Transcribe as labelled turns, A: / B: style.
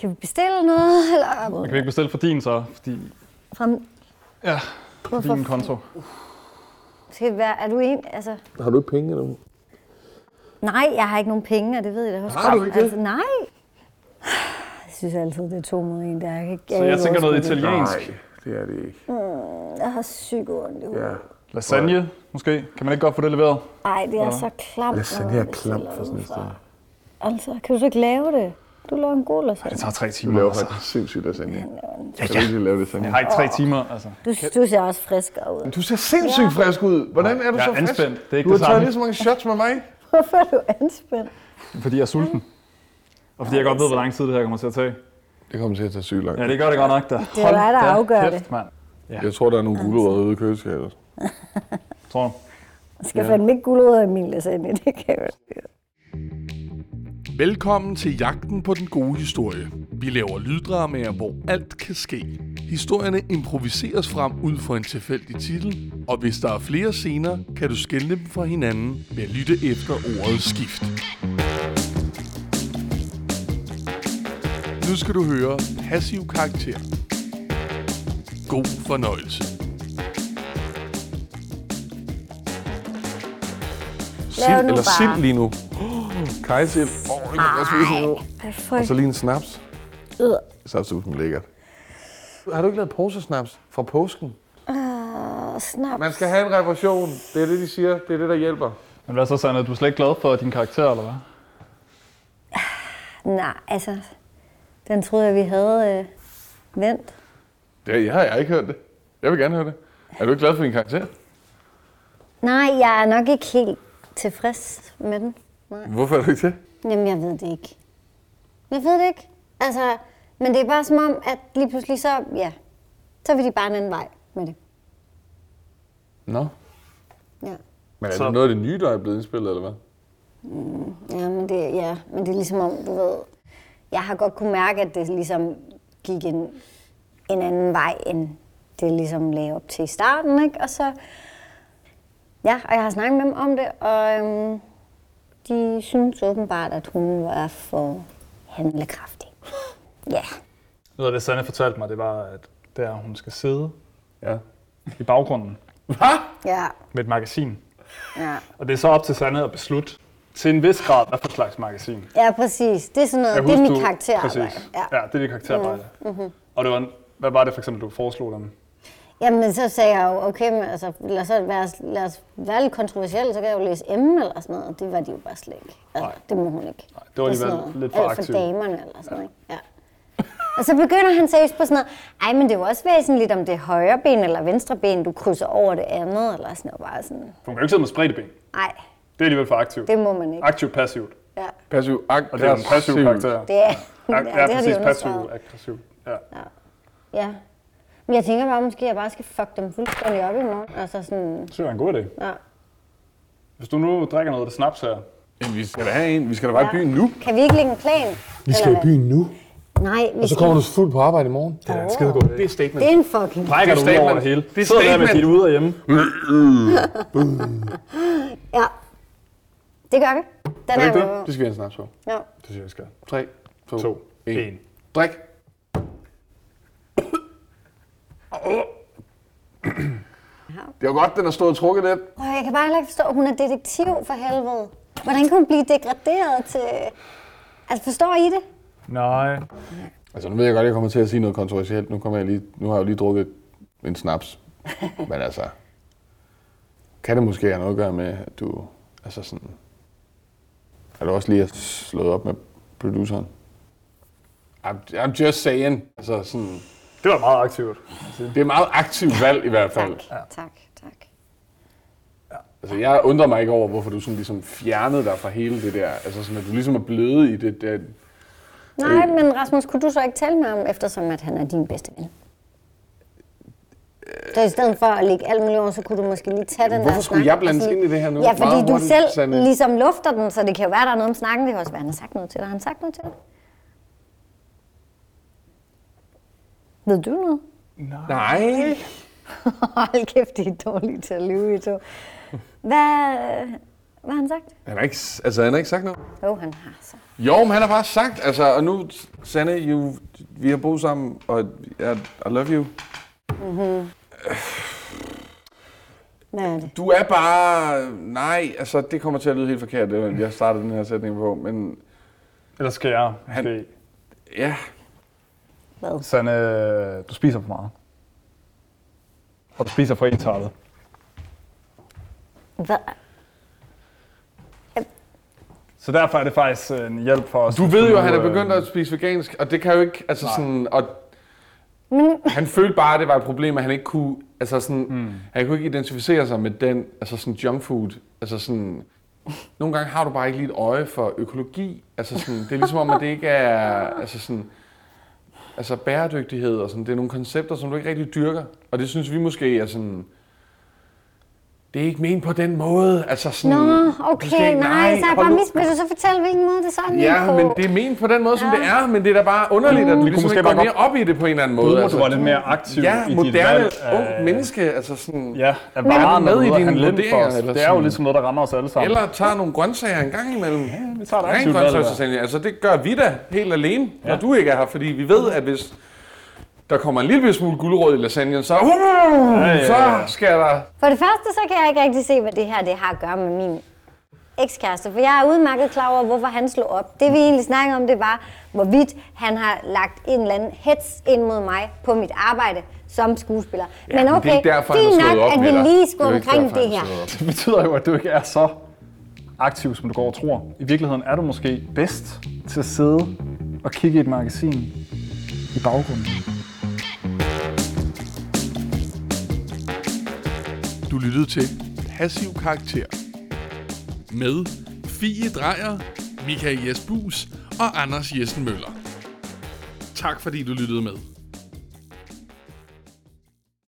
A: kan vi bestille noget? Eller
B: Man kan ikke bestille for din så, fordi...
A: fra,
B: Ja, for
A: Hvorfor
B: din konto.
A: skal det være, er du en, altså,
C: Har du ikke penge eller hvad?
A: nej, jeg har ikke nogen penge, og det ved jeg da også
C: Har du
A: godt.
C: ikke det?
A: Altså, nej. Jeg synes altid, det er to mod en, der jeg kan ikke
B: Så jeg tænker noget
A: overskue det.
B: italiensk.
C: Nej, det er det ikke.
A: Jeg har syg ondt i hovedet.
C: Ja.
B: Lasagne, måske. Kan man ikke godt få det leveret?
A: Ej, det er så klamt.
C: Lasagne er klamt for sådan et sted.
A: Altså, kan du så ikke lave det? Du laver en god lasagne.
B: Det tager tre
C: Du
B: timer,
C: laver
B: altså.
C: faktisk sindssygt lasagne.
B: Ja,
C: Kan du
B: ja.
C: ikke lige lave lasagne?
B: Nej, tre timer, altså.
A: Du, du ser også friskere ud.
C: Du ser sindssygt frisk ud. Hvordan er du
B: Jeg
C: så
B: er
C: frisk?
B: anspændt. Det er ikke
C: du har
B: det
C: taget
B: samme.
C: lige så mange shots med mig.
A: Hvorfor er du anspændt?
B: Fordi jeg er sulten. Og fordi jeg godt ved, hvor lang tid det her kommer til at tage.
C: Det kommer til at tage sygt langt.
B: Ja, det gør det godt nok, der.
A: Det er dig, der afgør
B: kæft, mand.
C: Jeg tror, der er nogle gulerødder ude i køleskabet.
B: Tror du?
A: Jeg skal fandme ikke gulerødder i min lasagne, det kan jeg
D: Velkommen til Jagten på den gode historie. Vi laver lyddramaer, hvor alt kan ske. Historierne improviseres frem ud fra en tilfældig titel, og hvis der er flere scener, kan du skelne dem fra hinanden ved at lytte efter ordet skift. Nu skal du høre passiv karakter. God fornøjelse.
A: Lav
C: Sild,
A: nu
C: eller
A: bare.
C: sild lige nu. Kajsild. Åh, oh, det kan jeg spise nu. Og så
A: ikke.
C: lige en snaps. Snapsusen er lækkert. Har du ikke lavet posesnaps fra påsken?
A: Øh, snap.
C: Man skal have en reparation. Det er det, de siger. Det er det, der hjælper.
B: Men hvad så, Sanne? Du er slet ikke glad for din karakter, eller hvad?
A: Nej, altså, den troede jeg, vi havde øh, vendt.
C: Det jeg har jeg ikke hørt det. Jeg vil gerne høre det. Er du ikke glad for din karakter?
A: Nej, jeg er nok ikke helt tilfreds med den. Nej.
C: Hvorfor er du ikke det?
A: Jamen, jeg ved det ikke. Jeg ved det ikke. Altså, men det er bare som om, at lige pludselig så, ja, så vil de bare en anden vej med det.
C: Nå.
A: Ja.
C: Men er
B: Så-
C: det noget af det nye, der er blevet indspillet, eller hvad?
A: Ja, men det, ja, men det er ligesom om, du ved, jeg har godt kunne mærke, at det ligesom gik en, en anden vej, end det ligesom lagde op til i starten, ikke? Og så, ja, og jeg har snakket med dem om det, og øhm, de synes åbenbart, at hun var for handlekraftig. Ja,
B: Noget af det, Sanne fortalte mig, det var, at der hun skal sidde
C: Ja.
B: i baggrunden
A: ja,
B: med et magasin.
A: ja.
B: Og det er så op til Sanne at beslutte til en vis grad, hvad for slags magasin.
A: Ja, præcis. Det er sådan noget, det er mit karakterarbejde.
B: Præcis.
A: Ja.
B: Ja. ja, det er dit karakterarbejde. Mm-hmm. Og det var, en- hvad var det for eksempel, du foreslog dem?
A: Jamen, så sagde jeg jo, okay, men altså, lad, os, så være, lad os være lidt kontroversielle, så kan jeg jo læse M eller sådan noget. Og det var de jo bare slet ikke. Altså,
B: Nej.
A: det må hun ikke.
B: Nej, det var
A: er
B: alligevel
A: sådan noget,
B: lidt for
A: alt
B: aktivt.
A: for damerne eller sådan noget, ja. Og så begynder han seriøst på sådan noget, ej, men det er jo også væsentligt, om det er højre ben eller venstre ben, du krydser over det andet, eller sådan noget. Bare sådan,
B: For hun kan jo ikke sidde med spredte ben.
A: nej,
B: Det er alligevel for aktivt.
A: det må man ikke.
B: Aktivt passivt.
A: Ja,
C: Passiv akt.
B: Og det er jo en passiv karakter.
A: det er,
B: Ja,
A: ja,
B: ja,
A: det har de
B: præcis. Passiv,
A: understreget.
B: aggressiv. Ja.
A: Ja. Men jeg tænker bare, måske jeg bare skal fuck dem fuldstændig op i morgen. Altså sådan,
B: Det synes jeg er en god idé.
A: ja.
B: Hvis du nu drikker noget af det snaps her,
C: Jamen, vi skal da have en. Vi skal da bare i byen nu.
A: Kan vi ikke lægge en plan?
C: Vi skal i
A: Eller hvad?
C: byen nu.
A: Nej, vi
C: Og så kommer du fuldt på arbejde i morgen.
B: det er en skide god idé. Det er statement.
A: Det er en fucking...
B: Brækker
C: Det
B: du
C: er
B: ud over
C: statement.
B: det hele.
C: Det er
B: Sidder der med
C: statement.
B: dit ude og hjemme.
A: Ja. Det gør vi. Den
B: Er det
A: er,
B: ikke
A: jo...
C: Det skal vi have en snaps på.
A: Ja.
B: Det synes jeg, vi skal.
C: 3,
B: To.
C: 2, 2 1.
B: En.
C: Drik. Det var godt, den har stået og trukket lidt.
A: Prøv, jeg kan bare heller ikke forstå, hun er detektiv for helvede. Hvordan kan hun blive degraderet til... Altså, forstår I det?
B: Nej.
C: Altså, nu ved jeg godt, at jeg kommer til at sige noget kontroversielt. Nu, kommer jeg lige, nu har jeg jo lige drukket en snaps. Men altså, kan det måske have noget at gøre med, at du altså sådan... Er du også lige slået op med produceren? I'm, I'm just saying. Altså sådan,
B: Det var meget aktivt.
C: det er et meget aktivt valg i hvert fald.
A: Tak, tak.
C: Altså, jeg undrer mig ikke over, hvorfor du sådan ligesom fjernede dig fra hele det der. Altså sådan, at du ligesom er blevet i det der...
A: Nej,
C: Øh.
A: men Rasmus, kunne du så ikke tale med ham, eftersom at han er din bedste ven? Så i stedet for at lægge alt muligt over, så kunne du måske lige tage den der
C: Hvorfor skulle
A: snak
C: jeg blandes
A: og sådan-
C: ind i det her nu?
A: Ja, fordi
C: Meget
A: du
C: hurtigt,
A: selv
C: Sanne.
A: ligesom lufter den, så det kan jo være, der er noget om snakken. Det kan også være, han har sagt noget til dig. Har han sagt noget til dig? Ved du noget?
C: Nej!
A: Hold kæft, det er dårligt til at lyve i to. Hvad, Hvad har han sagt?
C: Han har ikke, s- altså, han har ikke sagt noget.
A: Jo, oh, han har sagt.
C: Jo, men han har bare sagt, altså, og nu, Sanne, you, vi har boet sammen, og jeg, I love you.
A: Hvad er det?
C: Du er bare, nej, altså, det kommer til at lyde helt forkert, det er, jeg startede den her sætning på, men
B: Eller skal jeg
C: Han-
B: måske?
C: ja,
A: Hvad?
B: Sanne, du spiser for meget. Og du spiser for ensartet.
A: Hvad?
B: Så derfor er det faktisk øh, en hjælp for os.
C: Du
B: hvis
C: ved jo, at han er
B: øh,
C: begyndt at spise vegansk, og det kan jo ikke, altså
B: Nej.
C: sådan, og han følte bare, at det var et problem, at han ikke kunne, altså sådan,
B: Hmm.
C: han kunne ikke identificere sig med den, altså sådan junk food, altså sådan, nogle gange har du bare ikke lige et øje for økologi, altså sådan, det er ligesom om, at det ikke er, altså sådan, altså bæredygtighed og sådan, det er nogle koncepter, som du ikke rigtig dyrker, og det synes vi måske er sådan, det er ikke ment på den måde, altså sådan,
A: Nå,
C: du skal
A: okay,
C: ikke-
A: nej, så er jeg
C: hold
A: bare
C: nu-
A: mis... Vil du så fortælle, hvilken måde det så er ment
C: Ja,
A: på?
C: men det er ment på den måde, som det er, men det er da bare underligt, at du ligesom
B: måske
C: ikke
B: bare
C: går mere op i det på en eller anden måde. altså.
B: Bruno, du var lidt mere aktiv i
C: ja,
B: dit
C: moderne,
B: valg øh,
C: ung menneske, altså sådan...
B: Ja, at
C: er
B: varen
C: du med
B: med
C: i
B: i
C: dine
B: han lidt for
C: vurderinger,
B: os.
C: eller
B: Det er jo
C: sådan?
B: ligesom noget, der rammer os alle sammen.
C: Eller tager nogle grøntsager en gang imellem. Ja,
B: vi tager et aktivt valg,
C: grøntsager, altså det gør vi da helt alene, når du ikke er her, fordi vi ved, at hvis der kommer en lille smule gulerod i lasagnen, så, uh,
B: ja, ja.
C: så skal der...
A: For det første, så kan jeg ikke rigtig se, hvad det her det har at gøre med min ekskæreste, for jeg er udmærket klar over, hvorfor han slog op. Det vi egentlig snakkede om, det var, hvorvidt han har lagt en eller anden hets ind mod mig på mit arbejde som skuespiller. Ja, men
C: men det er
A: okay,
C: ikke derfor, han
A: fint
C: har slået
A: nok,
C: op
A: at
C: med
A: vi
C: dig.
A: lige
C: Det er
A: skulle
C: jo ikke
A: omkring
C: derfor, han
A: det her.
C: slår op.
B: Det betyder jo, at du ikke er så aktiv, som du går og tror. I virkeligheden er du måske bedst til at sidde og kigge i et magasin i baggrunden.
D: Du lyttede til Passiv Karakter med Fie Drejer, Michael Jesbus og Anders Jessen Møller. Tak fordi du lyttede med.